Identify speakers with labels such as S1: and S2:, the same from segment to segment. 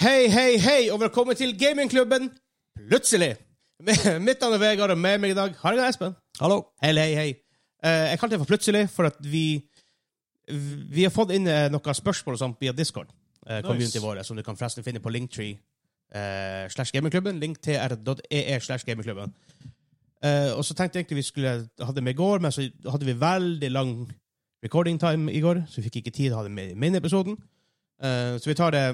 S1: Hei, hei, hei, og velkommen til gamingklubben Plutselig! Med- Mitt navn er Vegard, og med meg i dag har jeg Espen.
S2: Hallo.
S1: Hei, hei, hei. Eh, jeg kalte det for Plutselig, for at vi Vi har fått inn eh, noen spørsmål og sånt via Discord. Uh, community våre, som du kan forresten finne på linktree eh, slash gamingklubben. Linktr.ee slash gamingklubben. Eh, og så tenkte jeg egentlig vi skulle ha det med i går, men så hadde vi veldig lang recording time i går, så vi fikk ikke tid til å ha det med i mini-episoden. Eh, så vi tar det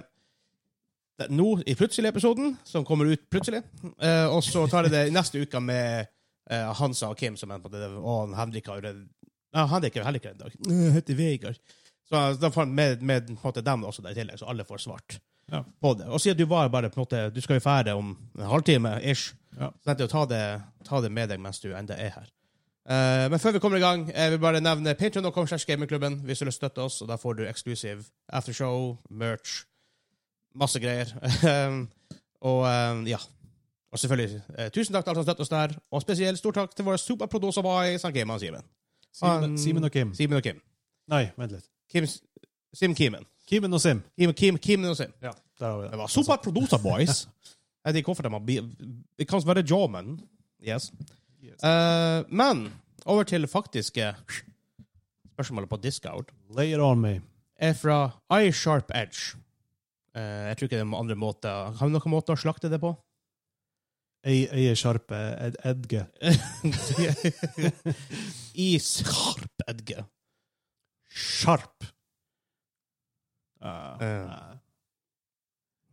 S1: det- nå i plutselig-episoden, som kommer ut plutselig. Eh, og så tar jeg det i neste uke med eh, Hansa og Kim, som er på det, og han Henrik har jo det- Nei, Henrik er jo heller ikke her i dag. Jeg heter Vegard. Så eh, da får han med, med på en måte, dem også der i tillegg, så alle får svart
S2: Ja.
S1: på det. Og siden du var bare på en måte, du skal jo ferdig om en halvtime, ish,
S2: Ja.
S1: så tenkte jeg å ta det, ta det med deg mens du enda er her. Eh, men før vi kommer i gang, jeg vil bare nevne patreon.com slash gamingklubben hvis du vil støtte oss, og da får du eksklusiv aftershow, merch, masse greier. Um, og um, ja. Og selvfølgelig eh, tusen takk til alle som støtter oss der, og spesielt stor takk til våre superproducer boys, han Kim, han Simen.
S2: Simen, Simen og Kim.
S1: Simen og Kim.
S2: Nei, vent litt.
S1: Kim Sim Kimen.
S2: Kimen og Sim.
S1: Kim, Kim, Kim og Sim.
S2: Ja, der har vi
S1: Det
S2: det.
S1: var superproducer boys. Jeg vet ikke hvorfor de har bi- Det kan være Jawman. Yes.
S2: Yes.
S1: Eh, men over til faktiske spørsmålet på Discord.
S2: Lay it on me.
S1: er fra iSharp Edge. Eh, jeg tror ikke det er noen andre måter. Har vi noen måter å slakte det på?
S2: Jeg, jeg er sjarpe Ed Edge.
S1: iSharp Edge.
S2: Sharp. Ah,
S1: Eh.
S2: nei.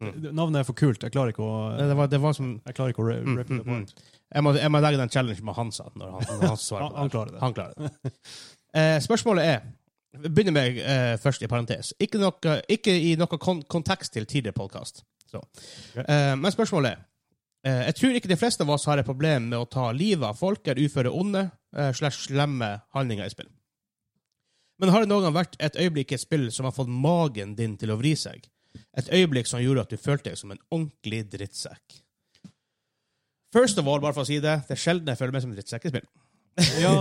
S1: Mm. Eh,
S2: Det- Navnet er for kult. Jeg klarer ikke å
S1: Det, det, var, det var som
S2: Jeg klarer ikke å re-
S1: Mm,
S2: rip det
S1: mm,
S2: på.
S1: jeg, må, jeg må legge den challenge med Hansa når han, når han svarer
S2: Han,
S1: på
S2: han
S1: det.
S2: klarer det.
S1: Han klarer det. Eh, spørsmålet er vi Begynner med eh, først i parentes. Ikke, noe, ikke i noe kon kontekst til tidligere podkast. Eh, men spørsmålet er eh, Jeg tror ikke de fleste av oss har et problem med å ta livet av folk eller uføre onde eh, slash slemme handlinger i spill. Men har det noen gang vært et øyeblikk i et spill som har fått magen din til å vri seg? Et øyeblikk som gjorde at du følte deg som en ordentlig drittsekk? First of all, bare for å si det, det er sjelden jeg føler meg som en drittsekk i spill.
S2: Ja.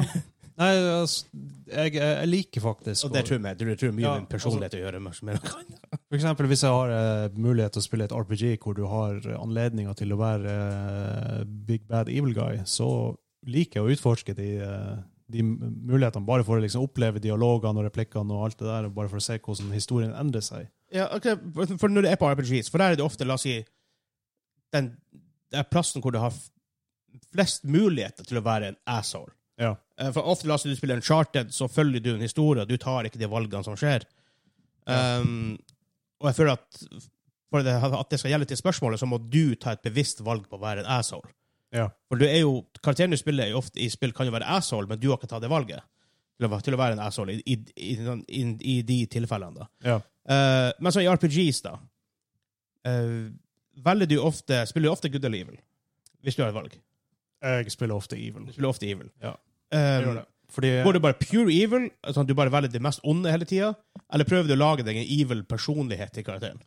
S2: Nei, altså, jeg, jeg liker faktisk
S1: Og det
S2: å-
S1: tror jeg, det tror jeg mye
S2: Ja,
S1: med min personlighet å gjøre. Med, med noe.
S2: For eksempel hvis jeg har eh, mulighet til å spille et RPG hvor du har anledninga til å være eh, big bad evil guy, så liker jeg å utforske de, eh, de mulighetene, bare for å liksom oppleve dialogene og replikkene og alt det der, og bare for å se hvordan historien endrer seg.
S1: Ja, ok, for når det er på RPGs, for der er det ofte, la oss si, den, det er plassen hvor du har f- flest muligheter til å være en asshole.
S2: Ja.
S1: Eh, For ofte, la oss si du spiller Uncharted, så følger du en historie, og du tar ikke de valgene som skjer.
S2: Ja.
S1: Um, og jeg føler at for det, at det skal gjelde til spørsmålet, så må du ta et bevisst valg på å være en asshole.
S2: Ja.
S1: For du er jo, karakteren du spiller i, ofte, i spill kan jo være asshole, men du har ikke tatt det valget til å, være- til å være en asshole i, i, i, i, i de tilfellene da.
S2: Ja.
S1: Eh, men så i RPGs, da eh, Velger du ofte Spiller du ofte good eller evil? Hvis du har et valg.
S2: Jeg spiller ofte evil.
S1: Du spiller ofte evil.
S2: Ja.
S1: Eh,
S2: Jeg gjør det. Fordi
S1: går du bare pure evil, sånn at du bare velger det mest onde hele tida, eller prøver du å lage deg en evil personlighet til karakteren?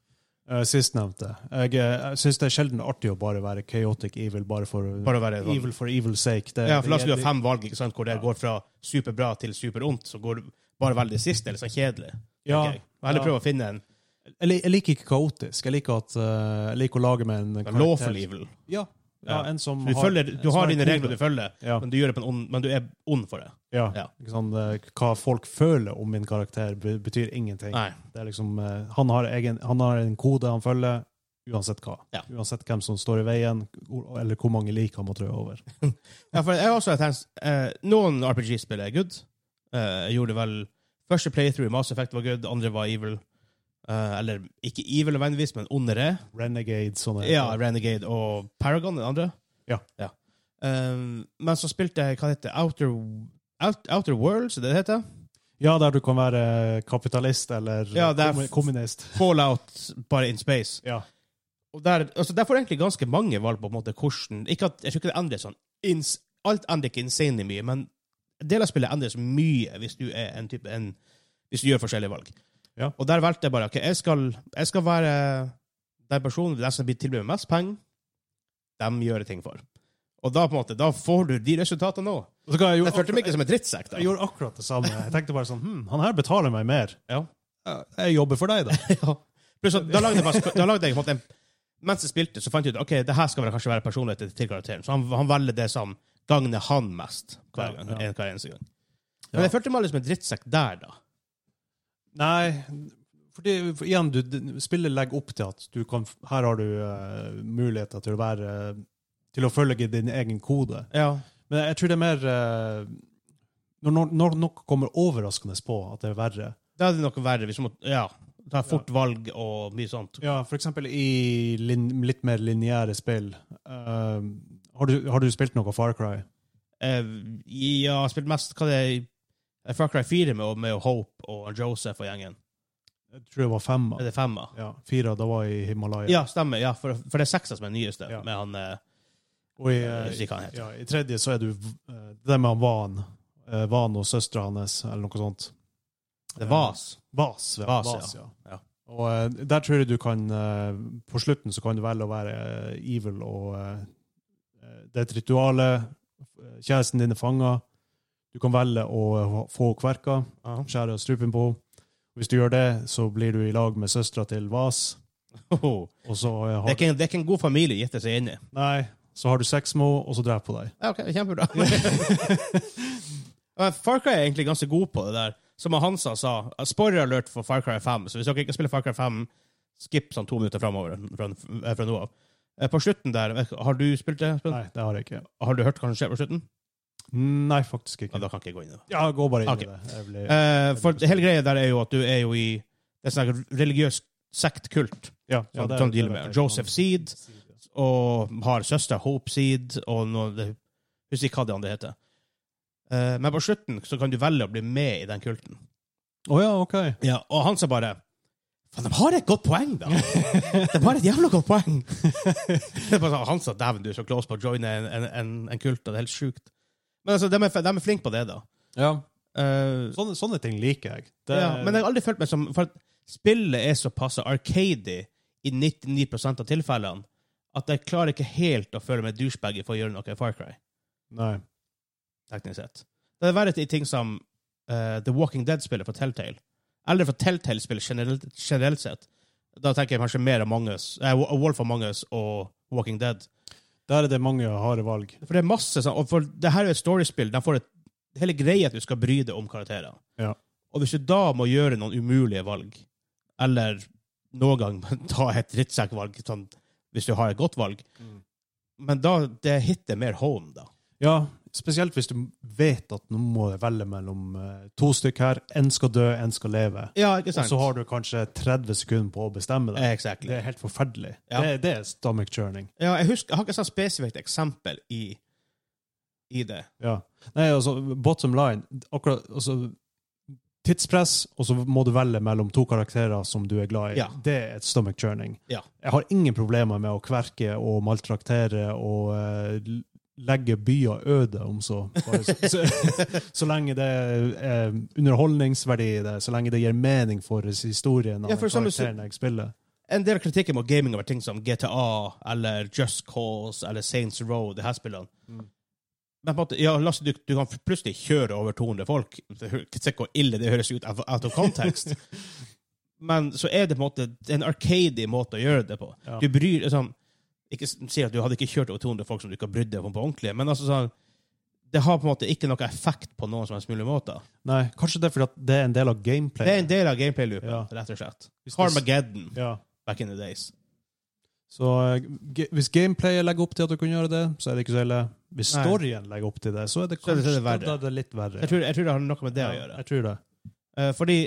S2: eh, sistnevnte Jeg, eh, jeg syns det er sjelden artig å bare være chaotic evil, bare for
S1: Bare å være sånn.
S2: evil for evil's sake. Det,
S1: Ja, for La oss si du
S2: det-
S1: har fem valg ikke sant, hvor det går fra superbra til superondt, så går du bare velger det siste, eller så kjedelig.
S2: Ja.
S1: tenker jeg. Heller
S2: Ja.
S1: prøve å finne en
S2: Jeg, lik- jeg liker ikke kaotisk. Jeg liker, at, eh, jeg liker å lage meg en karakter-
S1: lawful evil.
S2: Ja. ja, en som
S1: Du, følger, du
S2: som
S1: har
S2: en
S1: dine
S2: kode.
S1: regler du følger,
S2: Ja.
S1: men, du gjør det på en ond, men du er ond for det.
S2: Ja.
S1: Ja.
S2: Ikke sant, eh, hva folk føler om min karakter, be- betyr ingenting.
S1: Nei.
S2: Det er liksom, eh, han, har egen, han har en kode han følger, uansett hva.
S1: Ja.
S2: Uansett hvem som står i veien, hvor- eller hvor mange lik han må trø over.
S1: Ja, for jeg har også tenkt eh, Noen RPG-spill er good. Eh, jeg gjorde vel Første playthrough i Mass Effect var good, andre var evil. Eh, eller ikke evil nødvendigvis, men ondere.
S2: Renegade, sånne.
S1: Ja, Renegade og Paragon, den andre.
S2: Ja.
S1: Eh, men så spilte jeg hva det heter Outer, Out, Outer Worlds, er det det heter?
S2: Ja, der du kan være kapitalist eller
S1: Ja, det er
S2: kommu-
S1: f-
S2: kommunist.
S1: Fallout, bare in space.
S2: Ja.
S1: Og der, altså, der får du egentlig ganske mange valg på en måte hvordan ikke at, Jeg tror ikke det endrer sånn ins, Alt endrer ikke insanely mye, men deler av spillet endres mye hvis du er en type en, Hvis du gjør forskjellige valg.
S2: Ja.
S1: Og der valgte jeg bare ok, jeg skal, jeg skal være den personen den som blir tilbudt mest penger, dem gjør jeg ting for. Og da på en måte, da får du de resultatene òg.
S2: Og så kan
S1: Jeg
S2: jeg, gjorde,
S1: følte meg ikke som en drittsekk. da.
S2: jeg gjorde akkurat det samme. Jeg tenkte bare sånn, hm, han her betaler meg mer.
S1: Ja.
S2: Jeg jobber for deg, da.
S1: Ja. Pluss at da lagde jeg, faktisk- da lagde jeg på en måte en, Mens jeg spilte, så fant jeg ut ok, det her skal vel kanskje være personligheten til karakteren. Så han, han velger det som gagner han mest hver, gang,
S2: Ja, ja.
S1: en- hver eneste gang.
S2: Ja.
S1: Men jeg følte meg litt som en drittsekk der, da.
S2: Nei, fordi for igjen, du, d- spillet legger opp til at du kan, f- her har du eh, muligheter til å være eh, til å følge din egen kode.
S1: Ja.
S2: Men jeg tror det er mer eh, når, når, når noe kommer overraskende på at det er verre.
S1: Da er det noe verre. Hvis du må ja, ta fort valg og mye sånt.
S2: Ja, for eksempel i lin, litt mer lineære spill. eh, har, du, har du spilt noe Far Cry?
S1: Eh, ja, jeg har spilt mest hva det er eh, Far Cry 4 med, og- med Hope og Joseph og gjengen.
S2: Jeg tror det var fem.
S1: Er det femma?
S2: Ja, fire, da var jeg i Himalaya.
S1: Ja, stemmer. Ja, for, for det er seksa som er den nyeste.
S2: Ja.
S1: Med han eh,
S2: Og i, eh,
S1: Jeg husker ikke hva han heter.
S2: ja, i tredje så er du eh, det der med han Van. eh, Van og søstera hans, eller noe sånt. Eh,
S1: The Vas.
S2: Vas, ja.
S1: Vas,
S2: Vas, ja.
S1: Ja.
S2: Og eh, der tror jeg du kan eh, På slutten så kan du velge å være eh, evil og eh, Det er et rituale. Kjæresten din er fanga. Du kan velge å eh, ha- få henne kverka, skjære strupen på henne. Hvis du gjør det, så blir du i lag med søstera til Vas.
S1: Hoho.
S2: Og så eh,
S1: Det er,
S2: har,
S1: ikke, en- det er ikke en god familie gitt seg inn i.
S2: nei, så har du sex med henne, og så dreper hun deg.
S1: Ja, ok, kjempebra. Men Far Cry er egentlig ganske god på det der. Som Hansa sa, spoiler alert for Far Cry 5, så hvis dere ikke spiller Far Cry 5, skip sånn to minutter framover fra, fra nå av. Eh, På slutten der, har du spilt det? Espen?
S2: Nei, det har jeg ikke.
S1: Har du hørt hva som skjer på slutten?
S2: Nei, faktisk
S1: Ja,
S2: ikke.
S1: da kan ikke jeg gå inn i det.
S2: Ja, gå bare inn
S1: Ok.
S2: i det. Jeg blir,
S1: Eh, for hele greia der er jo at du er jo i det er sånn her religiøs sektkult
S2: ja,
S1: som,
S2: ja, det-
S1: som
S2: det
S1: dealer
S2: vet
S1: med.
S2: jeg.
S1: Joseph Seed, og har søster Hope Seed, og noe, det- jeg husker ikke hva det andre heter. Eh, men på slutten så kan du velge å bli med i den kulten.
S2: Å ja, OK.
S1: Ja, og han sa bare Faen, de har et godt poeng, da! De har et jævla godt poeng! Det er bare sånn, han sa dæven, du er så close på å joine en, en, en, en kult, og det er helt sjukt. Men altså, de er, de er flinke på det, da.
S2: Ja.
S1: Eh,
S2: Sånne, sånne ting liker jeg. Det,
S1: ja, men jeg har aldri følt meg som For at spillet er såpass arcady i 99 av tilfellene at jeg klarer ikke helt å føle meg douchebag for å gjøre noe i Far Cry.
S2: Nei.
S1: teknisk sett. Det er verre til ting som eh, The Walking Dead-spillet fra Telltale. Eller fra Telltale-spillet generelt, generelt sett. Da tenker jeg kanskje mer Among Us, eh, Wolf Among Us og Walking Dead.
S2: Der er det mange harde valg.
S1: For det er masse sånn, og for det her er jo et storiespill. De får et, hele greia er at du skal bry deg om karakterer.
S2: Ja.
S1: Og hvis du da må gjøre noen umulige valg, eller noen gang ta et drittsekkvalg, sånn, hvis du har et godt valg,
S2: Mm.
S1: men da det hitter mer home, da.
S2: Ja, spesielt hvis du vet at nå må jeg velge mellom eh, to stykker her. Én skal dø, én skal leve.
S1: Ja, ikke
S2: Og så har du kanskje 30 sekunder på å bestemme deg.
S1: Exactly.
S2: Det er helt forferdelig.
S1: Ja.
S2: Det, det er stomach churning.
S1: Ja, jeg husker, jeg har ikke et sånt spesifikt eksempel i, i det.
S2: Ja. Nei, altså, bottom line akkurat, altså, Tidspress, og så må du velge mellom to karakterer som du er glad i.
S1: Ja.
S2: Det er et stomach churning.
S1: Ja.
S2: Jeg har ingen problemer med å kverke og maltraktere og eh, l- legge byer øde, om så. Bare så, så, så lenge det er eh, underholdningsverdi i det, så lenge det gir mening for historien av
S1: Ja, for
S2: den
S1: eksempel så-
S2: karakteren jeg spiller.
S1: En del av kritikken mot gaming over ting som GTA eller Just Cause eller Saints Row, det her spillene.
S2: Mm.
S1: Men på en måte, ja, Lasse, du, du kan plutselig kjøre over 200 folk. Det hø- Se hvor ille det høres ut av- out of context. Men så er det på en måte en arcady måte å gjøre det på.
S2: Ja.
S1: Du bryr liksom, Ikke s- si at du hadde ikke kjørt over 200 folk som du ikke har brydd deg om på ordentlig, men altså sånn det har på en måte ikke noe effekt på noen som helst mulig måte.
S2: Nei, kanskje det er fordi at det er en del av gameplay.
S1: Det er en del av gameplay-loopen,
S2: Ja.
S1: rett og slett.
S2: Hvis det-
S1: Carmageddon
S2: Ja.
S1: back in the days.
S2: Så eh, ge- hvis gameplayet legger opp til at du kan gjøre det, så er det ikke så ille. Hvis
S1: Nei.
S2: storyen legger opp til det, så er det
S1: Så er det- så
S2: kanskje
S1: er det verre.
S2: da er det litt verre.
S1: Jeg tror, jeg tror det har noe med det
S2: ja.
S1: å gjøre.
S2: Jeg tror det.
S1: Eh, fordi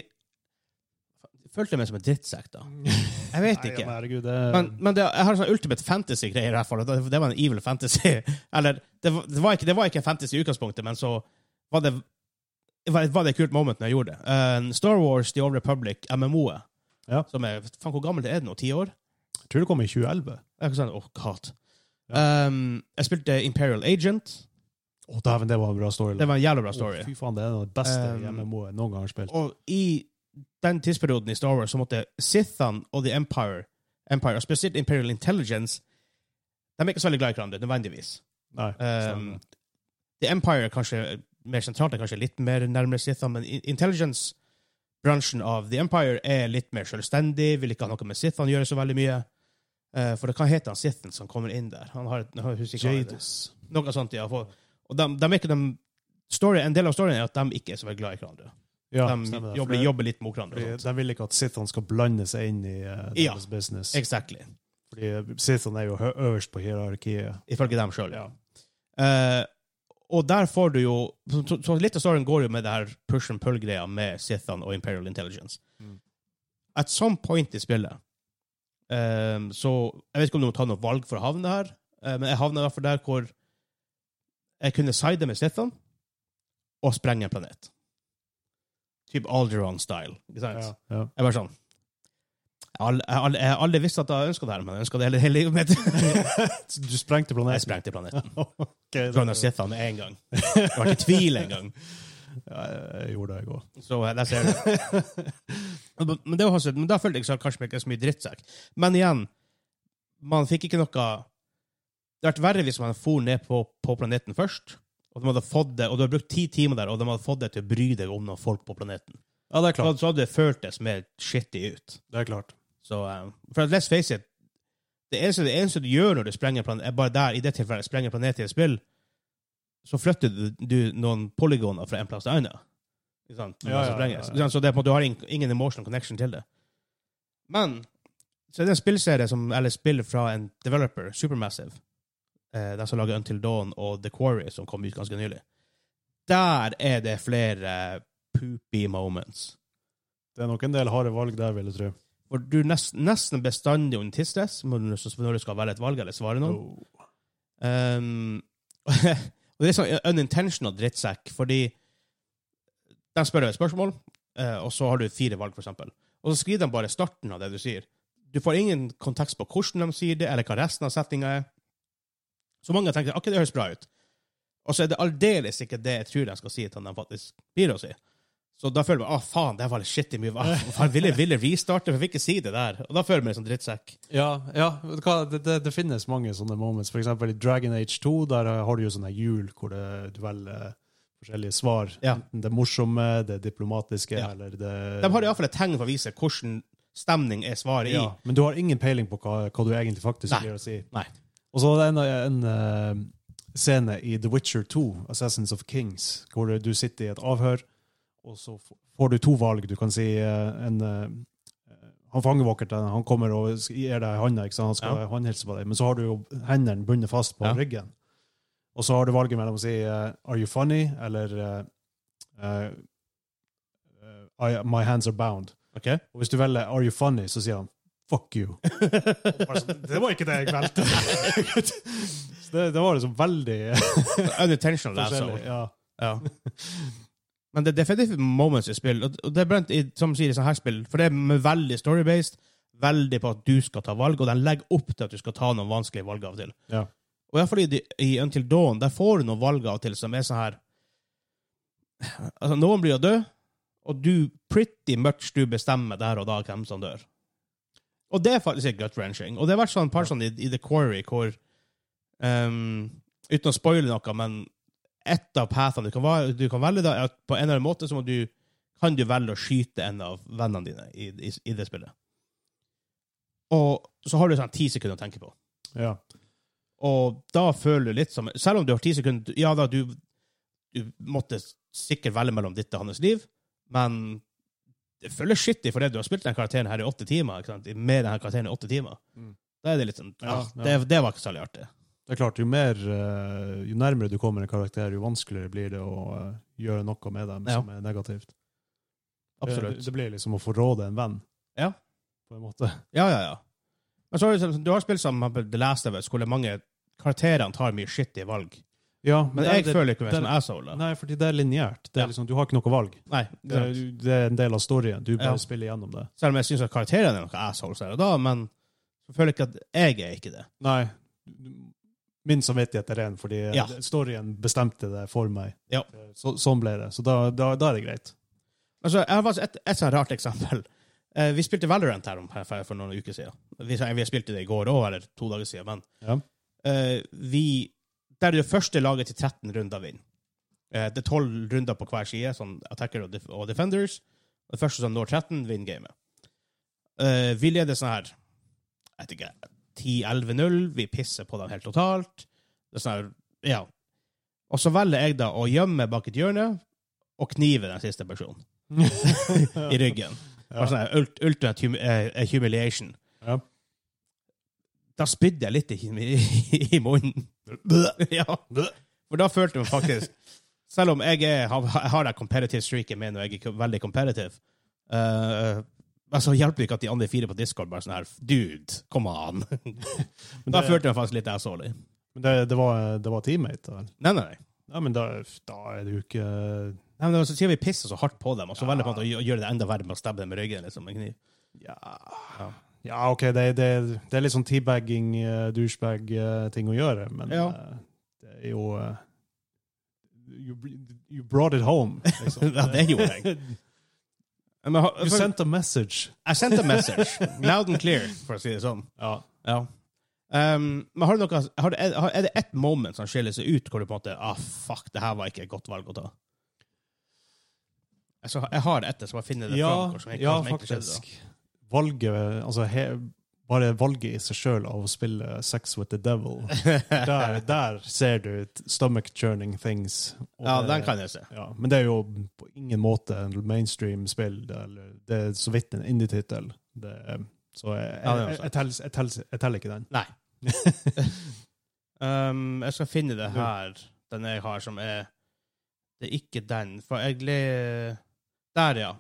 S1: jeg følte meg som en drittsekk, da. Jeg vet
S2: Nei, men
S1: ikke.
S2: herregud, det er...
S1: Men, men det, jeg har sånn Ultimate Fantasy-greier, i hvert fall. og Det, det var en evil fantasy. Eller, det var, det, var ikke, det var ikke en fantasy i utgangspunktet, men så var det var, var det et kult moment når jeg gjorde det. Eh, Star Wars The Old Republic, MMO-et,
S2: Ja.
S1: som er Faen, hvor gammelt er det nå? Ti år?
S2: Jeg tror det kom i 2011.
S1: Jeg, er ikke sånn, oh, God. Um, jeg spilte Imperial Agent.
S2: Å, dæven, det var en bra story. Ehm,
S1: Det var en jævla bra story.
S2: Å, fy faen, det er noe av det beste
S1: Um,
S2: MMO-et noen gang har spilt.
S1: Og i den tidsperioden i Star Wars så måtte Sithene og The Empire, Empire og spesielt Imperial Intelligence De er ikke så veldig glad i hverandre, nødvendigvis.
S2: Nei,
S1: Um, The Empire er kanskje mer sentralt, er kanskje litt mer nærmere Sithene, men I- Intelligence bransjen av The Empire er litt mer selvstendig, vil ikke ha noe med Sith han gjør så veldig mye. Eh, for det kan hete han Sithen som kommer inn der. Han har et, jeg husker ikke hva han heter.
S2: Jadis.
S1: Noe sånt, ja. For, og de, de er ikke de, story, en del av storyen er at de ikke er så veldig glad i hverandre.
S2: Ja,
S1: de
S2: stemmer det.
S1: jobber,
S2: For-
S1: jobber litt mot hverandre.
S2: Fordi
S1: og sånt.
S2: De vil ikke at Sithon skal blande seg inn i eh,
S1: Ja.
S2: deres business.
S1: Exactly.
S2: Fordi eh, Sithon er jo hø- øverst på hierarkiet.
S1: Ifølge dem sjøl. Eh, og der får du jo så, så- så Litt av storyen går jo med det her push and pull-greia med Sithan og Imperial Intelligence.
S2: Mm.
S1: At some point i spillet eh, Så jeg vet ikke om du må ta noe valg for å havne her, eh, men jeg havna i hvert fall der hvor jeg kunne side med Sithan og sprenge en planet. Typ Alderon-style. ikke sant?
S2: Ja. Ja.
S1: Jeg bare sånn Jeg har al- jeg har al- jeg har aldri visst at jeg ønska det her, men jeg ønska det hele, hele livet mitt.
S2: Så Du sprengte
S1: jeg
S2: planeten?
S1: sprengte planeten.
S2: okay,
S1: Throne of
S2: det,
S1: Sith med en gang. Jeg var ikke i tvil en gang.
S2: ja, jeg gjorde det, jeg òg.
S1: Så eh, der ser du. Men- Men, det var også, men da følte jeg så, kanskje ikke så mye drittsekk. Men igjen, man fikk ikke noe Det hadde vært verre hvis man for ned på, på planeten først, og de hadde fått det, og du hadde brukt ti timer der, og de hadde fått deg til å bry deg om noen folk på planeten.
S2: Ja, det er
S1: Så
S2: klart.
S1: hadde det føltes mer shitty ut.
S2: Det er klart.
S1: Så, eh, for at, let's face it, det eneste, det eneste du gjør når du sprenger planet, er bare der, i det tilfellet sprenger planet i et spill, så flytter du, du noen polygoner fra en plass til en annen. Ikke sant? Når
S2: Ja,
S1: det
S2: ja,
S1: sprenges.
S2: ja, ja.
S1: Ikke sant? Så det er på en måte, du har ing- ingen emotional connection til det. Men så er det en spillserie som, eller spill fra en developer, Supermassive, eh, den som lager Until Dawn og The Quarry, som kom ut ganske nylig. Der er det flere poopy moments.
S2: Det er nok en del harde valg der, vil jeg tro.
S1: For du nest, nesten bestandig under tidsstress må du- så- når du skal velge et valg eller svare noen.
S2: Oh.
S1: Um, og det er sånn unintentional drittsekk, fordi de spør deg et spørsmål, eh, og så har du fire valg, for eksempel. Og så skriver de bare starten av det du sier. Du får ingen kontekst på hvordan de sier det, eller hva resten av setninga er. Så mange tenker akkurat det høres bra ut. Og så er det aldeles ikke det jeg tror de skal si til han de faktisk blir å si. Så da føler jeg meg, ah faen, det her var litt shitty mye. Ah, faen, ville, ville restarte, for jeg fikk ikke si det der. Og da føler jeg meg som drittsekk.
S2: Ja, ja vet du hva? Det, det, det finnes mange sånne moments. For eksempel i Dragon Age 2, der har du jo sånne hjul hvor det, du velger forskjellige svar.
S1: Ja.
S2: Enten det morsomme, det diplomatiske,
S1: Ja.
S2: eller det
S1: De har iallfall et tegn for å vise hvordan stemning er svaret
S2: ja,
S1: i.
S2: Men du har ingen peiling på hva, hva du egentlig faktisk
S1: Nei.
S2: gir å si.
S1: Nei.
S2: Og så er det en, en eh, scene i The Witcher 2, Assassins of Kings, hvor du sitter i et avhør, og så f- får du to valg. Du kan si eh, en eh, han fangevokteren han kommer og sk- gir deg handa, ikke sant? han skal
S1: Ja.
S2: håndhilse på deg, men så har du jo hendene bundet fast på
S1: Ja.
S2: ryggen. Og så har du valget mellom å si eh, 'Are you funny?' eller eh, eh, I, 'My hands are bound'.
S1: OK?
S2: Og hvis du velger 'Are you funny', så sier han 'fuck you'. Bare sånn, det var ikke det jeg valgte. Så det, det var liksom veldig
S1: Unintentional,
S2: forskjellig.
S1: altså.
S2: Ja.
S1: Ja. Men det er definitivt moments i spill, og og det er brent i som sier, i sånne her spill, for det er med veldig story-based, veldig på at du skal ta valg, og den legger opp til at du skal ta noen vanskelige valg av og til.
S2: Ja.
S1: Og i hvert fall i, de- i Until Dawn, der får du noen valg av og til som er sånn her Altså, noen blir jo død, og du pretty much du bestemmer der og da hvem som dør. Og det er faktisk litt gut-wrenching. Og det har vært sånn par sånn i, i The Quarry hvor ehm, Uten å spoile noe, men ett av pathene du kan, va- du kan velge, da, er at på en eller annen måte så må du, kan du velge å skyte en av vennene dine i, i, i det spillet. Og så har du sånn ti sekunder å tenke på.
S2: ja.
S1: Og da føler du litt som Selv om du har ti sekunder Ja da, du, du måtte sikkert velge mellom ditt og hans liv, men det føles skittig fordi du har spilt den karakteren her i åtte timer. Ikke sant? Med denne karakteren i åtte timer.
S2: Mm.
S1: Da er det litt sånn
S2: Ja,
S1: ah,
S2: ja.
S1: Det, det var ikke særlig artig.
S2: Det er klart, jo, mer, eh, jo nærmere du kommer en karakter, jo vanskeligere blir det å eh, gjøre noe med dem
S1: Ja.
S2: som er negativt. Det,
S1: Absolutt.
S2: det blir liksom å forråde en venn.
S1: Ja.
S2: På en måte.
S1: Ja, ja, ja. Men så har du, sånn- du har spilt sammen med The Last of Us, hvor det er mange karakterene tar mye skittige valg.
S2: Ja,
S1: Men
S2: der-
S1: jeg
S2: det-
S1: føler ikke meg
S2: der-
S1: som en asshole. da.
S2: Nei, fordi det er lineært. Det
S1: Ja.
S2: er liksom, du har ikke noe valg.
S1: Nei.
S2: Det er, det er en del av storyen. Du bare
S1: Ja.
S2: spiller gjennom det.
S1: Selv om jeg syns karakterene er noen assholes her og da, men jeg føler ikke at jeg er ikke det.
S2: Nei, min samvittighet er ren, fordi
S1: Ja.
S2: storyen bestemte det for meg.
S1: Ja.
S2: Så, sånn ble det. Så da, da, da er det greit.
S1: Altså, jeg har faktisk et, et sånt rart eksempel. Eh, vi spilte Valorant her, om, her for- for noen uker siden. Vi, vi spilte det i går òg, eller to dager siden. Men
S2: Ja.
S1: eh, vi Der det første laget til 13 runder vinner. Eh, det er 12 runder på hver side, sånn attacker og, def og defenders. Det første som når 13, vinner gamet. Eh, vi leder sånn her Jeg vet ikke 10-11-0. Vi pisser på dem helt totalt. Det er sånn her, ja. Og så velger jeg da å gjemme meg bak et hjørne og knive den siste personen i ryggen.
S2: Ja.
S1: Bare sånn her, ult- ultimate hum eh, humiliation.
S2: Ja.
S1: Da spydde jeg litt i, i, i munnen. ja. For da følte jeg meg faktisk Selv om jeg er, har, har det competitive streaket med når jeg er ko- veldig competitive, eh, altså hjelper det ikke at de andre fire på Discord bare sånn her Dude, kom an.
S2: Men
S1: da
S2: det-
S1: følte jeg meg faktisk litt asshole.
S2: Men det, det, var, det var teammate, vel?
S1: Nei, nei, nei.
S2: Ja, men da, da er det jo ikke
S1: Nei, men det var så sier vi pisser så hardt på dem, og så
S2: Ja.
S1: velger man å gjø- gjøre det enda verre med å stabbe dem i ryggen liksom, med kniv.
S2: Ja, ja OK, det, det, det er litt sånn teabagging, eh, douchebag-ting å gjøre, men
S1: Ja.
S2: eh, det er jo eh, you, you brought it home, liksom.
S1: ja, det gjorde jeg. Men, ha-
S2: You sent a message.
S1: Jeg sendte en message. Loud and clear, for å si det sånn.
S2: Ja.
S1: Ja. Um, men har du noe, har du, har- er det ett moment som skiller seg ut, hvor du på en måte Ah, fuck, det her var ikke et godt valg å ta? Altså, jeg har ett, så bare finner det fram.
S2: Ja,
S1: hvor som jeg-
S2: ja
S1: hva som egentlig skjedde da.
S2: faktisk. Valget, altså he, bare valget i seg sjøl av å spille Sex with the Devil, der, der ser du et stomach churning things. Og
S1: Ja,
S2: det-
S1: den kan jeg se.
S2: Ja, men det er jo på ingen måte en mainstream spill. det- Eller det er så vidt en indie-tittel. Det er- Så jeg,
S1: Ja, det er
S2: jeg,
S1: sant.
S2: jeg, teller- jeg, teller- jeg teller ikke den.
S1: Nei. um, jeg skal finne det her, den jeg har, som er Det er ikke den, for jeg le... Der, ja.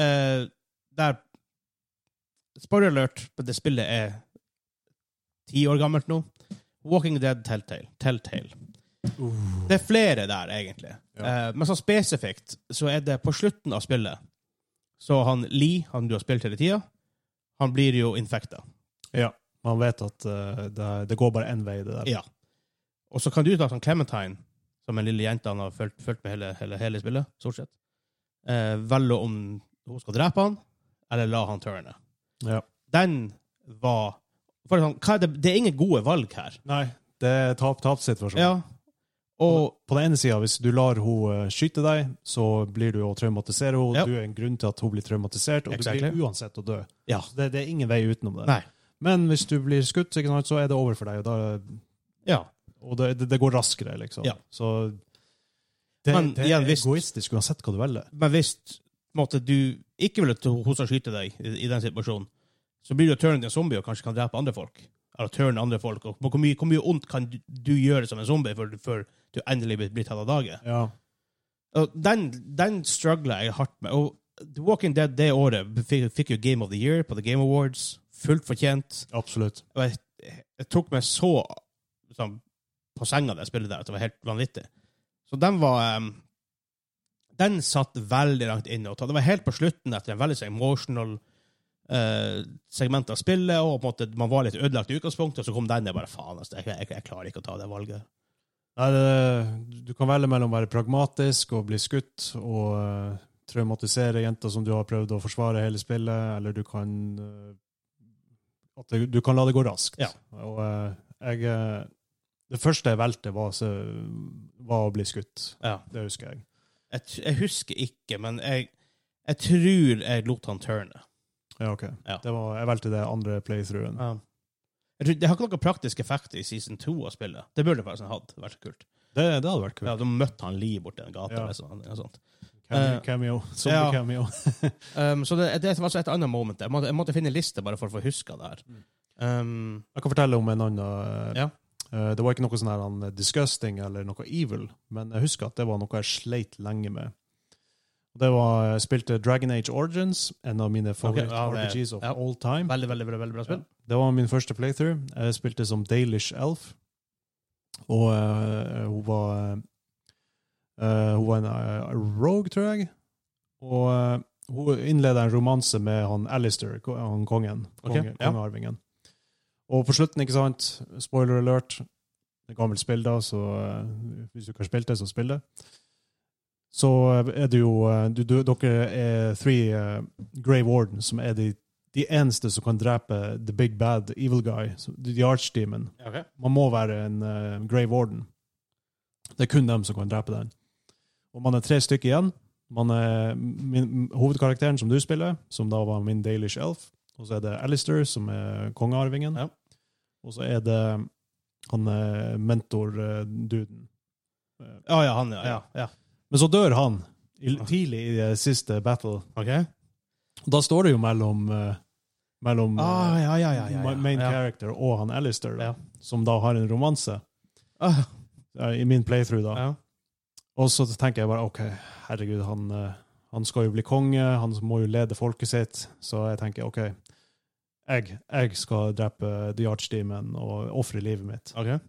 S1: Eh, der Spoiler alert, men det spillet er ti år gammelt nå. Walking Dead Telltale. Telltale. Det er flere der, egentlig.
S2: Ja.
S1: Eh, men så spesifikt så er det på slutten av spillet Så han Lee, han du har spilt hele tida, han blir jo infekta.
S2: Ja, Man vet at eh, det, det går bare én vei, det der.
S1: Ja. Og så kan du ta sånn Clementine, som en lille jente han har fulgt, fulgt med hele, hele, hele spillet, stort sett, eh, velge om hun skal drepe han, eller la han tørne.
S2: Ja.
S1: Den var for sånn, hva er det, det er ingen gode valg her.
S2: Nei, det er tap-tap-situasjon.
S1: Ja. Og
S2: På den ene sida, hvis du lar hun eh, skyte deg, så blir du å traumatisere henne.
S1: Ja.
S2: Du er en grunn til at hun blir traumatisert, og
S1: Exactly.
S2: du blir uansett å dø.
S1: Ja.
S2: Så Det, det er ingen vei utenom det.
S1: Nei.
S2: Men hvis du blir skutt, ikke sant, så er det over for deg, og, da,
S1: Ja.
S2: og det, det- det går raskere, liksom.
S1: Ja.
S2: Så det,
S1: Men
S2: det
S1: igjen,
S2: er
S1: hvis-
S2: egoistisk uansett hva du velger.
S1: Men hvis på en måte, du ikke vil at hun skal skyte deg i, i den situasjonen, så blir du å turne til en zombie og kanskje kan drepe andre folk. Eller turne andre folk. Og hvor, mye, hvor mye ondt kan du, du gjøre som en zombie før, du- før du endelig blir, blir tatt av dage?
S2: Ja.
S1: Og Den, den struggler jeg hardt med. Og The Walking Dead det året fikk, fikk jo Game of the Year på The Game Awards. Fullt fortjent.
S2: Absolutt.
S1: Og jeg, jeg tok meg så sånn, på senga da jeg spilte der, at det var helt vanvittig. Så den var em, Den satt veldig langt inne. Og ta- det var helt på slutten, etter en veldig så emotional eh, segment av spillet, og på en måte man var litt ødelagt i utgangspunktet, og så kom den der bare faen, altså, jeg, jeg, jeg klarer ikke å ta det valget.
S2: Nei, det, du kan velge mellom å være pragmatisk og bli skutt og eh, traumatisere jenter som du har prøvd å forsvare hele spillet, eller du kan eh, at det, Du kan la det gå raskt.
S1: Ja.
S2: Og eh, jeg eh, Det første jeg valgte, var, så, var å bli skutt.
S1: Ja.
S2: Det husker jeg.
S1: Jeg, t- jeg husker ikke, men jeg, jeg tror jeg lot han turne.
S2: Ja, ok.
S1: Ja.
S2: Det var, jeg valgte det andre playthroughen.
S1: Ja. Um, Jeg tror- Det har ikke noen praktisk effekt i season 2 av spillet. Det burde det faktisk hatt. Det hadde vært så kult.
S2: Det, det hadde vært kult.
S1: Ja, Da møtte han Lee borti en gate.
S2: Ja.
S1: Liksom, eller noe sånt.
S2: Cameo.
S1: Eh,
S2: cameo. Zombie
S1: ja.
S2: cameo.
S1: Um, så det, det var altså et annet moment. Jeg måtte, jeg måtte finne en liste bare for å få huska det her. Um,
S2: Jeg kan fortelle om en annen eh,
S1: Ja.
S2: eh, Det var ikke noe sånn her han, disgusting eller noe evil, men jeg husker at det var noe jeg sleit lenge med. Det var, Jeg spilte Dragon Age Origins, en av mine
S1: ja, det-
S2: favoritt-RPGs of
S1: ja.
S2: all time.
S1: veldig, veldig, veldig, veldig bra spill.
S2: Det var min første playthrough. Jeg spilte som Dalish Elf, og eh, hun var eh, Hun var en eh, rogue, tror jeg. Og eh, hun innleda en romanse med han Alistair, ko- han kongen.
S1: Ok,
S2: konge-
S1: ja.
S2: Kongearvingen. Og på slutten, ikke sant, spoiler alert Det er gammelt spill, da, så eh, hvis du ikke har spilt det, så spill det. Så er det jo eh, du, du, Dere er three eh, Grey Warden, som er de, de eneste som kan drepe the big bad evil guy, så- the archdemon. Man må være en eh, uh, Grave Warden. Det er kun dem som kan drepe den. Og man er tre stykker igjen. Man er, min, hovedkarakteren som du spiller, som da var min Dalish Elf, og så er det Alistair, som er kongearvingen,
S1: Ja.
S2: og så er det han eh, mentor-duden.
S1: Ja, ja, han, ja. ja.
S2: Men så dør han i, tidlig i eh, siste battle.
S1: Ok.
S2: Da står det jo mellom, eh, mellom eh,
S1: Ah, ja, ja, ja, ja, ja.
S2: main
S1: ja.
S2: character og han Alistair, da,
S1: Ja.
S2: som da har en romanse,
S1: Ah,
S2: eh, i min playthrough, da.
S1: ja.
S2: Og så tenker jeg bare OK, herregud, han, eh, han skal jo bli konge, han må jo lede folket sitt. Så jeg tenker OK, jeg, jeg skal drepe The Archdemon og ofre livet mitt.
S1: Ok.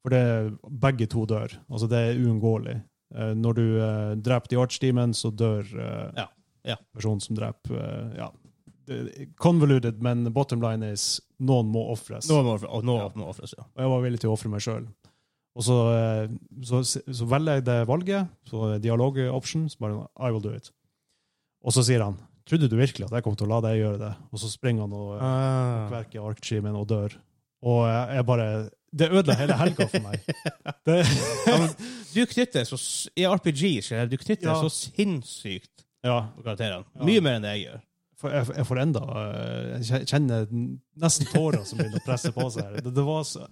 S2: For det, begge to dør. Altså, det er uunngåelig. Eh, Når du eh, dreper The Archdemon, så dør eh,
S1: Ja, ja.
S2: personen som dreper eh, Ja. Det- Convoluted, men bottom line is noen må ofres.
S1: Nå må og nå
S2: Ja.
S1: må offres, ja.
S2: Og jeg var villig til å ofre meg sjøl. Og så, eh, så, så velger jeg det valget, så dialog option, så bare I will do it. Og så sier han Trodde du virkelig at jeg kom til å la deg gjøre det? Og så springer han og eh,
S1: Ah.
S2: kverker arkskimen og dør. Og eh, jeg bare Det ødela hele helga for meg. Det,
S1: Ja, men du knytter så s- I RPG skjer det. Du knytter
S2: Ja.
S1: så sinnssykt
S2: ja,
S1: på karakterene.
S2: Ja.
S1: Mye mer enn det jeg gjør.
S2: for jeg, jeg får enda eh, Jeg kjenner nesten tårer som begynner å presse på seg. her. Det, det var så,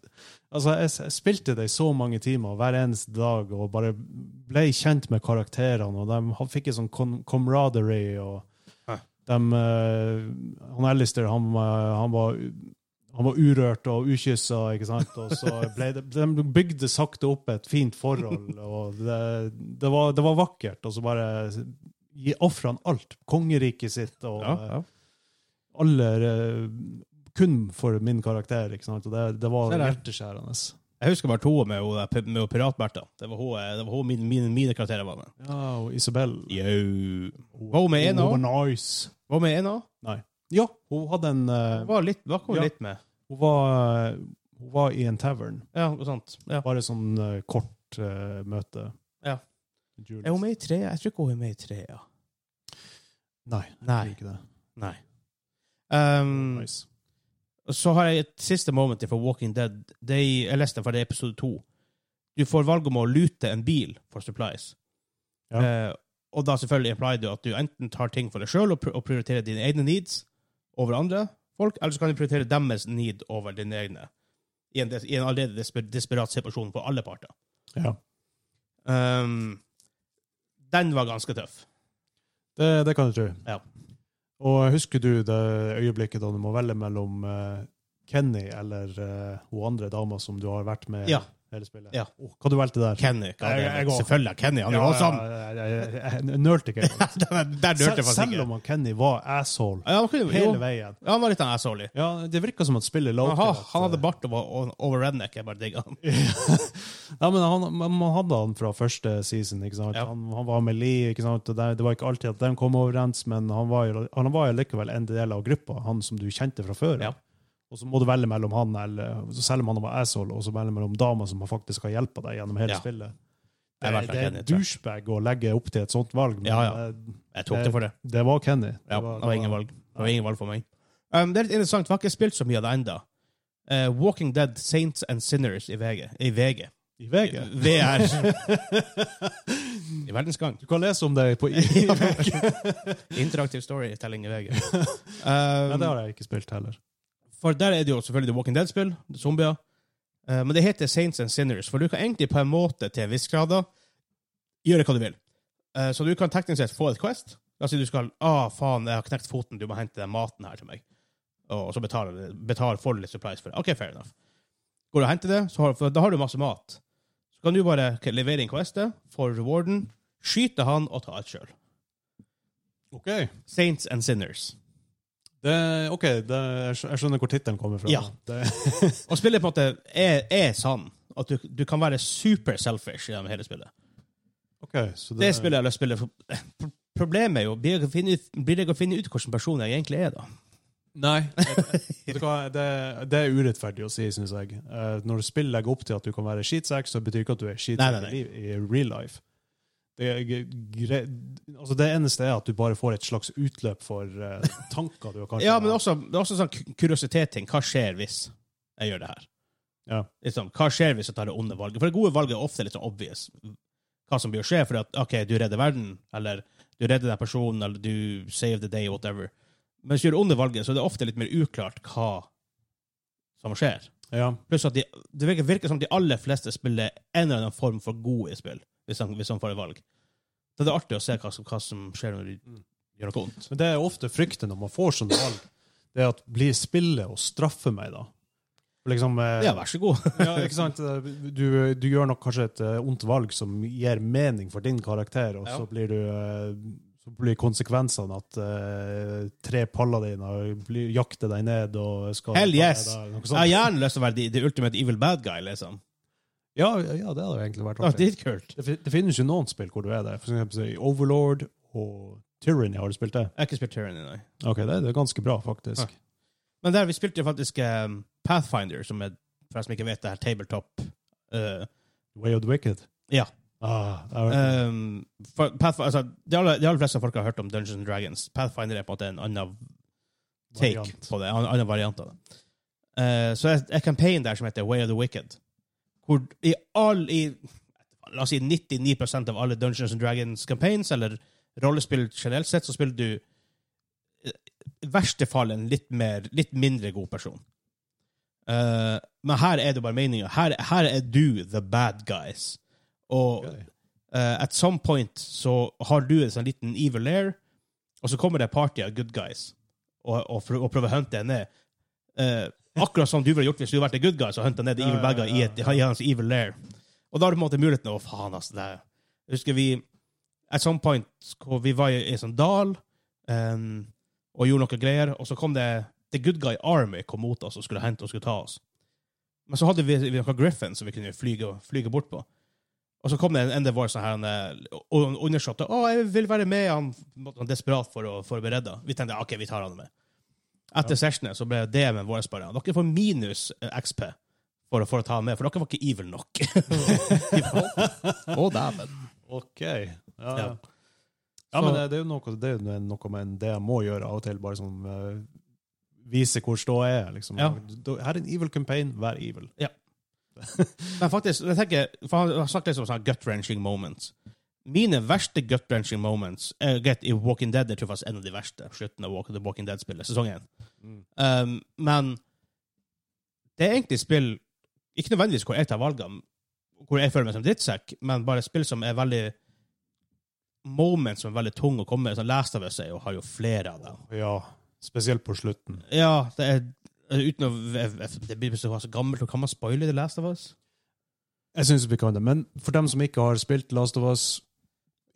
S2: altså, jeg, s- jeg spilte det i så mange timer hver eneste dag og bare ble kjent med karakterene, og de ha- fikk en sånn kom- camaraderie. Og
S1: Hæ.
S2: dem, eh, han Alistair, han, eh, han var han var urørt og ukyssa, ikke sant? Og så ble det, de bygde sakte opp et fint forhold, og det, det, var, det var vakkert. Og så bare gi- ofra han alt. Kongeriket sitt og
S1: Ja,
S2: eh,
S1: ja.
S2: alle eh, kun for min karakter. ikke sant? Og det, det var
S1: Se der.
S2: hjerteskjærende.
S1: Jeg husker bare to med, hun der- med hun Pirat-Bertha. Det var hun, eh, det var hun mine, mine, mine karakterer var med.
S2: Ja, og Isabel
S1: Yo. Var hun med en
S2: Hun
S1: òg?
S2: var nice.
S1: Var hun med en òg?
S2: Ja, hun hadde en eh,
S1: Hun Var, litt, var ikke hun
S2: Ja.
S1: litt med?
S2: Hun var, eh, hun var i en tavern.
S1: Ja, noe sånt. Ja.
S2: Bare sånn eh, kort eh, møte.
S1: Ja.
S2: Julius.
S1: Er hun med i tre? Jeg tror ikke hun er med i tre, ja.
S2: Nei. Mm.
S1: Nei.
S2: Ikke det.
S1: Nei. Um,
S2: Nice.
S1: så har jeg et siste moment fra Walking Dead. Det, jeg leste det fra det er episode to. Du får valg om å lute en bil for supplies.
S2: Ja.
S1: Eh, og da selvfølgelig implier du at du enten tar ting for deg sjøl og, pr og prioriterer dine egne needs over andre folk, eller så kan du prioritere deres need over dine egne. I en, des- i en allerede desper desperat situasjon for alle parter.
S2: Ja.
S1: Um, den var ganske tøff.
S2: Det, det kan du tro.
S1: Ja.
S2: Og husker du det øyeblikket da du må velge mellom eh, Kenny eller eh, hun andre dama som du har vært med
S1: Ja.
S2: hele spillet?
S1: Ja.
S2: Åh, hva du valgte der?
S1: Kenny. hva
S2: Jeg-
S1: det er.
S2: jeg går.
S1: Selvfølgelig er Kenny. Han er jo awesome!
S2: ja, ja, jeg, jeg, jeg nølte ikke. engang.
S1: Der dørte jeg
S2: Sel,
S1: faktisk
S2: selv
S1: ikke.
S2: om han Kenny var asshole
S1: Ja, han, kunne, jo,
S2: hele veien.
S1: ja, han var litt asshole.
S2: Ja, Det virka som at spillet la
S1: Han,
S2: opp
S1: ha,
S2: til at,
S1: han hadde
S2: eh,
S1: bart og var o- over redneck. Jeg bare digga han.
S2: Ja, men han, man man hadde han fra første season. ikke sant?
S1: Ja.
S2: Han, han var med Lee, ikke sant? og det, det var ikke alltid at de kom overens, men han var, jo- han var jo likevel en del av gruppa, han som du kjente fra før.
S1: Ja.
S2: Og så må du velge mellom han, eller, selv om han var asshole, og så velge mellom dama som faktisk har hjulpet deg gjennom hele
S1: Ja.
S2: spillet.
S1: Det er
S2: Det,
S1: i hvert fall
S2: det er
S1: Kenny,
S2: en
S1: tror jeg.
S2: douchebag å legge opp til et sånt valg, men
S1: Ja, ja.
S2: Det,
S1: Jeg tok det for det.
S2: det var Kenny.
S1: Ja, det var ingen valg. Det var ingen valg for meg. Um, det er litt interessant, for jeg har ikke spilt så mye av det ennå. Walking Dead Saints and Sinners i VG. I VG.
S2: I VG.
S1: VR. I verdensgang.
S2: Du kan lese om det på i i VG.
S1: Interaktiv storytelling i VG.
S2: Nei,
S1: Um,
S2: det har jeg ikke spilt heller.
S1: For der er det jo selvfølgelig The Walking Dead-spill, zombier. Eh, Men det heter Saints and Sinners, for du kan egentlig på en måte til en viss grad da, gjøre hva du vil. Eh, Så du kan teknisk sett få et quest. La oss si du skal ah, faen, jeg har knekt foten, du må hente den maten her til meg. Og så betaler, betaler får du litt surprise for det. OK, fair enough. Går du og henter det, så har, for da har du masse mat. Så kan du bare ok, levere inn questet, få rewarden, skyte han og ta et sjøl.
S2: Ok,
S1: Saints and Sinners.
S2: det, ok, det, jeg skj- jeg skjønner hvor tittelen kommer fra.
S1: Ja.
S2: Det,
S1: Og spillet på en måte er, er sann. At du, du kan være super selfish gjennom hele spillet.
S2: Ok, så det,
S1: Det spillet jeg har lyst til å spille for- Problemet er jo blir jeg, å finne, ut- blir jeg å finne ut hvilken person jeg egentlig er, da?
S2: Nei. Vet du hva, det, det er urettferdig å si, syns jeg. Eh, når spill legger opp til at du kan være skitsekk, så betyr ikke at du er
S1: Nei,
S2: skitsekk
S1: nei,
S2: i, liv- i real life. Det, er g- gre altså det eneste er at du bare får et slags utløp for eh, tanker du har kanskje
S1: Ja, men også, det er også sånn ku- kuriositetsting. Hva skjer hvis jeg gjør det her?
S2: Ja.
S1: Liksom, hva skjer hvis jeg tar det onde valget? For det gode valget er ofte litt sånn obvious. Hva som blir å skje, for at OK, du redder verden, eller Du redder den personen, eller du save the day, whatever. Mens du gjør onde valget, så er det ofte litt mer uklart hva som skjer.
S2: Ja.
S1: Pluss at de, det virker, virker som de aller fleste spiller en eller annen form for gode spill, hvis han, hvis han får et valg. Så det er artig å se hva som, hva som skjer når de gjør noe vondt.
S2: Men det er ofte frykten når man får sånne valg, det er at blir spillet og straffer meg, da? For Liksom, eh,
S1: Ja, vær så god.
S2: ja, ikke sant? Du, du gjør nok kanskje et eh, ondt valg som gir mening for din karakter, og
S1: Ja.
S2: så blir du eh, så blir konsekvensene at eh, tre paller dine blir, jakter deg ned og skal
S1: Hell
S2: ta
S1: yes!
S2: deg, noe
S1: Jeg
S2: sånt.
S1: har gjerne lyst til å være the, the ultimate evil bad guy, liksom.
S2: Ja, ja, det hadde jo egentlig vært
S1: Det var
S2: artig.
S1: dritkult.
S2: Det, fin- det finnes jo noen spill hvor du er der. For eksempel i Overlord og Tyranny har du spilt det.
S1: Jeg har ikke spilt Tyranny, nei.
S2: Ok, det, det er ganske bra, faktisk.
S1: Ja. Men der, vi spilte jo faktisk um, Pathfinder, som er, for jeg som ikke vet, det her tabletop. Uh,
S2: Way of the Wicked.
S1: Ja.
S2: Ah, jeg, har-
S1: um, for, Pathfi- altså, de, aller, de aller fleste folk har hørt om Dungeons and Dragons. Pathfinder er på en måte en annen take
S2: Variant.
S1: på det. En annen variant av det. Eh, så er en campaign der som heter Way of the Wicked, hvor i all i, La oss si 99 av alle Dungeons and Dragons campaigns, eller rollespill generelt sett, så spiller du eh, i verste fall en litt, mer, litt mindre god person. Eh, men her er det bare meninga. Her, her er du the bad guys. Og
S2: Ok.
S1: eh, at some point så har du en sånn liten evil lair, og så kommer det party av good guys og, og, prø- og prøver å hunte henne ned. Eh, akkurat som du ville gjort hvis du hadde vært en good guy og hunta ned the
S2: Ja,
S1: evil bad guy
S2: ja, ja,
S1: i, et, i hans evil lair. Og da har du på en måte muligheten Å, faen, altså. Det er. Jeg husker vi At some point hvor vi var i en sånn dal em, og gjorde noe greier, og så kom det The Good Guy Army kom mot oss og skulle hente og skulle ta oss. Men så hadde vi, vi noen Griffin som vi kunne flyge, flyge bort på. Og så kom det en, en det var sånn her en, eh, og- og undersåtte. 'Å, jeg vil være med.' Han måtte han desperat for å, for å bli redda. Vi tenkte ok, vi tar han med. Etter sessionen så ble DM-en vår bare 'Dere får minus eh, XP for, å- for å ta han med, for dere var ikke evil nok'. Å, dæven.
S2: Ok. Ja,
S1: Ja.
S2: ja. ja
S1: Så-
S2: men det, det er jo noe, det er jo noe med det jeg må gjøre av og til, bare sånn eh, vise hvor stå jeg er, liksom.
S1: Ja.
S2: Da- Her er en evil campaign, vær evil.
S1: Men faktisk, jeg tenker, for han har sagt litt om sånne gut-wrenching moments. Mine verste gut-wrenching moments er greit, i Walking Dead. Jeg tror faktisk en av de verste. Slutten av Walk- The Walking Dead-spillet, sesong 1. Um, men det er egentlig spill Ikke nødvendigvis hvor jeg tar valgene, hvor jeg føler meg som drittsekk, men bare spill som er veldig Moments som er veldig tunge å komme med. Sånn Last of Us er jo, har jo flere av dem.
S2: Ja, spesielt på slutten.
S1: Ja, det er Uten å Det blir så så gammelt, og kan man spoile The Last of Us?
S2: Jeg synes vi kan det, men for dem som ikke har spilt Last of Us,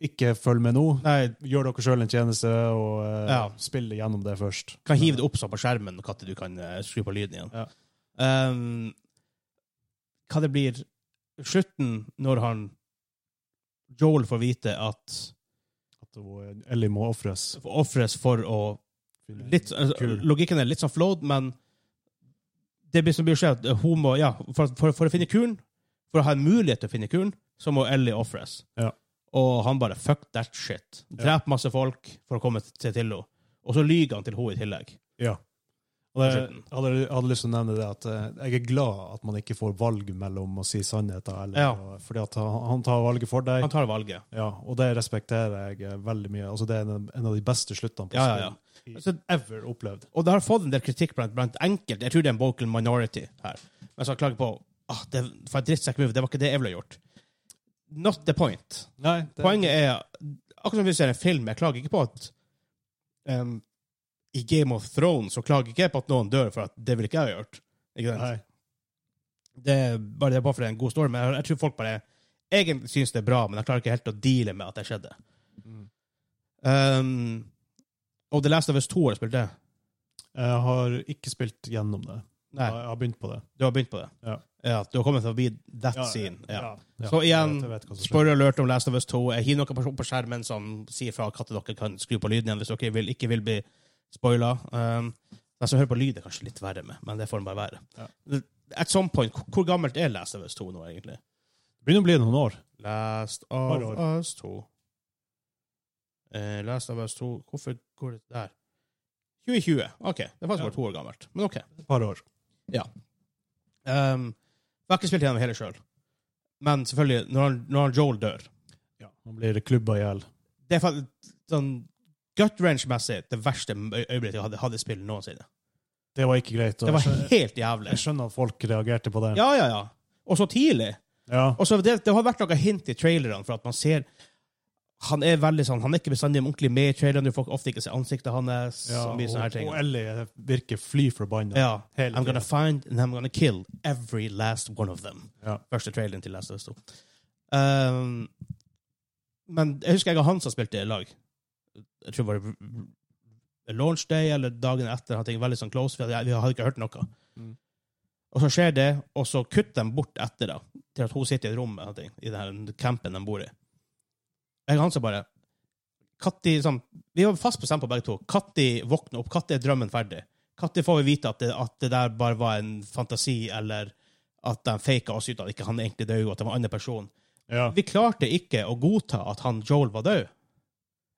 S2: ikke følg med nå.
S1: Nei,
S2: Gjør dere selv en tjeneste, og eh,
S1: Ja.
S2: spill gjennom det først.
S1: kan hive det opp sånn på skjermen når du kan eh, skru på lyden igjen.
S2: Ja.
S1: Um, hva det blir slutten når han Joel får vite at
S2: At hun- Ellie må offres.
S1: ofres for å litt, altså,
S2: Kul.
S1: Logikken er litt sånn flåd, men det blir som blir skjedd, at hun må, ja, for, for, for å finne kuren, for å ha en mulighet til å finne kuren, så må Ellie ofres.
S2: Ja.
S1: Og han bare fuck that shit.
S2: Ja.
S1: Drep masse folk for å komme til, til henne. Og så lyver han til henne i tillegg.
S2: Ja. Og jeg
S1: På slutten.
S2: hadde, hadde lyst til å nevne det at eh, jeg er glad at man ikke får valg mellom å si sannheten eller
S1: Ja.
S2: Fordi at han, han tar valget for deg,
S1: Han tar valget.
S2: ja, og det respekterer jeg eh, veldig mye. Altså, det er en, en av de beste sluttene på
S1: Ja, ja, ja.
S2: spill
S1: Altså,
S2: jeg ever opplevd.
S1: Og det har fått en del kritikk blant, blant enkelte. Jeg tror det er en vocal minority her. Men som klager på ah, det for et drittsekk-move. Det var ikke det jeg ville gjort. Not the point.
S2: Nei, det,
S1: Poenget er Akkurat som vi ser en film, jeg klager ikke på at em, I Game of Thrones så klager ikke jeg på at noen dør, for at det ville ikke jeg ha gjort. Ikke sant?
S2: Nei.
S1: Det er bare det er bare for det er en god story, men jeg, jeg tror folk bare egentlig syns det er bra, men jeg klarer ikke helt å deale med at det skjedde.
S2: Mm.
S1: Um, og The Last of Us 2 har jeg spilt det.
S2: Jeg har ikke spilt gjennom det.
S1: Nei.
S2: Jeg, jeg har begynt på det.
S1: Du har begynt på det?
S2: Ja.
S1: Ja, du har kommet forbi that scene. Ja. Så igjen,
S2: jeg vet hva som skjer.
S1: Spoiler alert om Last of Us 2. Jeg har noen person på skjermen som sier fra at dere kan skru på lyden igjen hvis dere vil, ikke vil bli spoila. Um, den som hører på lyd, er kanskje litt verre med, men det får den bare være. At some point, hvor- Hvor gammelt er Last of Us 2 nå, egentlig?
S2: Det begynner å bli noen år.
S1: Last of
S2: Bare
S1: Us 2. Eh, Last of Us 2 Hvorfor går det der? 2020. OK. Det er faktisk
S2: Ja.
S1: bare to år gammelt. Men OK.
S2: Et par år.
S1: Um, jeg har ikke spilt gjennom hele sjøl. Men selvfølgelig, når, han, når han Joel dør
S2: Ja. Man blir klubba i hjel.
S1: Det er faktisk sånn gut wrench-messig det verste øy- øyeblikket jeg hadde, hadde i spill noensinne.
S2: Det var ikke greit. og
S1: Det var
S2: jeg skjønner-
S1: helt jævlig.
S2: jeg skjønner at folk reagerte på det.
S1: Ja, ja, ja. Og så tidlig.
S2: Ja.
S1: Og så det, det har vært noen hint i trailerne, for at man ser Han er veldig sånn, han er ikke bestandig ordentlig med i trailerne, du får ofte ikke se ansiktet hans.
S2: Ja,
S1: og mye sånne her
S2: og,
S1: ting.
S2: og Ellie virker fly forbanna.
S1: Ja.
S2: Hele
S1: I'm gonna
S2: tiden.
S1: find and I'm gonna kill every last one of them.
S2: Ja.
S1: Første traileren til Last of Us 2. Um, men jeg husker jeg og Hans har spilt det i lag. Jeg tror det var launch day eller dagen etter. Han ting veldig sånn close, for jeg- vi hadde ikke hørt noe.
S2: Mm.
S1: Og så skjer det, og så kutter de bort etter det, til at hun sitter i et rom med han ting, i den her campen de bor i. Jeg og Hans er bare Katti, sånn, Vi var fast bestemt på begge to. Katti våkner opp. Katti er drømmen ferdig. Katti får vi vite at det, at det der bare var en fantasi, eller at de faka oss ut at ikke han egentlig døde, og at det var en annen person.
S2: Ja.
S1: Vi klarte ikke å godta at han Joel var død.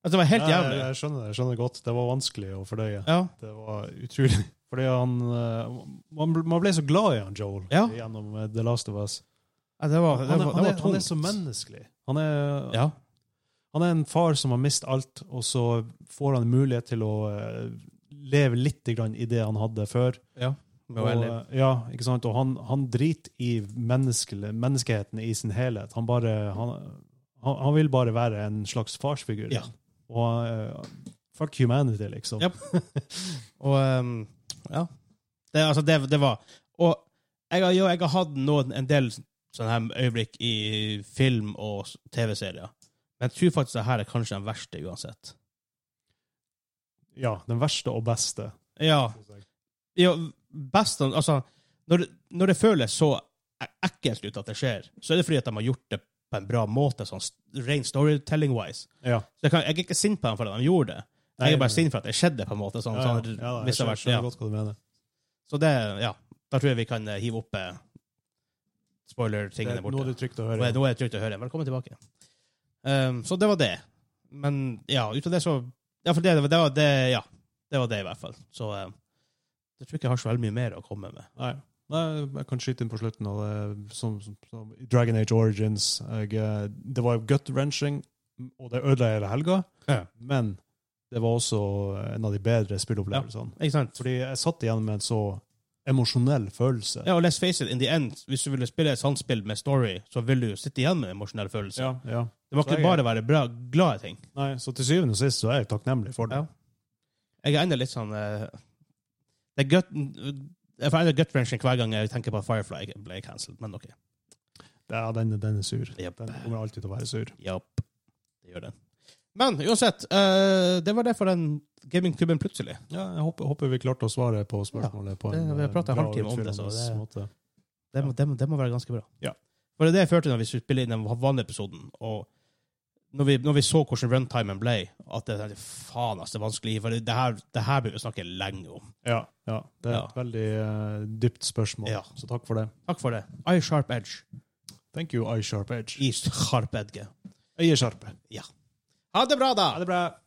S1: Altså, det var helt
S2: Ja, Jeg,
S1: jævlig.
S2: jeg skjønner det jeg skjønner godt. Det var vanskelig å fordøye.
S1: Ja.
S2: Det var utrolig. Fordi han eh, Man, bl- man ble så glad i han Joel
S1: Ja.
S2: gjennom eh, The Last of Us.
S1: Ja, det var,
S2: Han
S1: det
S2: er,
S1: var,
S2: han
S1: det
S2: er,
S1: var
S2: han er,
S1: tungt.
S2: så menneskelig. Han er,
S1: Ja.
S2: han er en far som har mistet alt, og så får han mulighet til å eh, leve litt grann i det han hadde før. Og,
S1: Og,
S2: eh, ja, ikke sant? og han, han driter i menneskele- menneskeheten i sin helhet. Han, bare, han, han, han vil bare være en slags farsfigur.
S1: Ja.
S2: Og eh, fuck humanity, liksom.
S1: Ja. og ehm, ja. Det, altså, det, det var Og jeg, har- jo, jeg har hatt noen, en del sånne her øyeblikk i film og s- TV-serier, men jeg tror faktisk det her er kanskje den verste uansett.
S2: Ja, den verste og beste.
S1: Ja. ja best, om- altså, når, det- når det føles så e- ekkelt ut at det skjer, så er det fordi at de har gjort det på en bra måte, sånn s- ren storytelling-wise.
S2: Ja.
S1: Så jeg, kan, jeg er ikke sint på dem for at de gjorde det. Jeg er
S2: Nei,
S1: bare sint for at det skjedde, på en måte. Sånn,
S2: Ja, ja,
S1: sånn,
S2: ja, da,
S1: hvis
S2: jeg
S1: det har
S2: skjønner,
S1: vært, ja.
S2: skjønner godt hva du mener.
S1: Så det, ja. Da tror jeg vi kan eh, hive opp eh,
S2: Det
S1: spoiler-tingene
S2: er noe
S1: borte.
S2: det er trygt å
S1: Nå
S2: høre.
S1: er, nå er det trygt å høre. Velkommen tilbake. Um, så det var det. Men ja, ut av det så Ja, for det, det, var- det var det, ja. Det var det, i hvert fall. Så eh, jeg tror ikke jeg har så veldig mye mer å komme med.
S2: Nei. Nei, jeg kan skyte inn på slutten. Og det, som, som, som, i Dragon Age Origins jeg, eh, Det var gut-wrenching, og det ødela hele helga,
S1: Ja.
S2: men det var også en av de bedre spillopplevelsene.
S1: Ikke sant?
S2: Fordi jeg satt igjen med en så emosjonell følelse.
S1: Ja, og let's face it, in the end, hvis du ville spille et sånt spill med story, så vil du jo sitte igjen med en emosjonell følelse.
S2: Ja, ja.
S1: Det må
S2: Så jeg
S1: ikke
S2: er-
S1: bare være bra, glade ting.
S2: Nei, så til syvende og sist så er jeg takknemlig for det.
S1: Ja. Jeg er enda litt sånn eh, Det er gut, jeg får enda gut-wrenching hver gang jeg tenker på at Firefly ble cancelled, men OK.
S2: Ja, den, den er sur.
S1: Japp.
S2: Den kommer alltid til å være sur.
S1: Japp. Det gjør den. Men uansett, eh, det var det for den gamingklubben plutselig.
S2: Ja, jeg håper, håper vi klarte å svare på spørsmålet på
S1: det-
S2: en
S1: vi har
S2: eh,
S1: pratet en
S2: bra
S1: halvtime om det, så
S2: utfyllende
S1: det-
S2: måte.
S1: Det må, det, må- det må være ganske bra.
S2: Ja.
S1: For det er det jeg følte når vi skulle spille inn den vanlige episoden, og når vi, når vi så hvordan runtimen ble, at det er faen ass, det er vanskelig, for det her, det her bør vi snakke lenge om.
S2: Ja, ja, det er
S1: Ja.
S2: et veldig eh, dypt spørsmål,
S1: Ja.
S2: så takk for det.
S1: Takk for det. Eye sharp edge.
S2: Thank you, iSharp Edge.
S1: I sharp edge.
S2: Øyesharpe.
S1: Ha det bra, da!
S2: Ha det bra.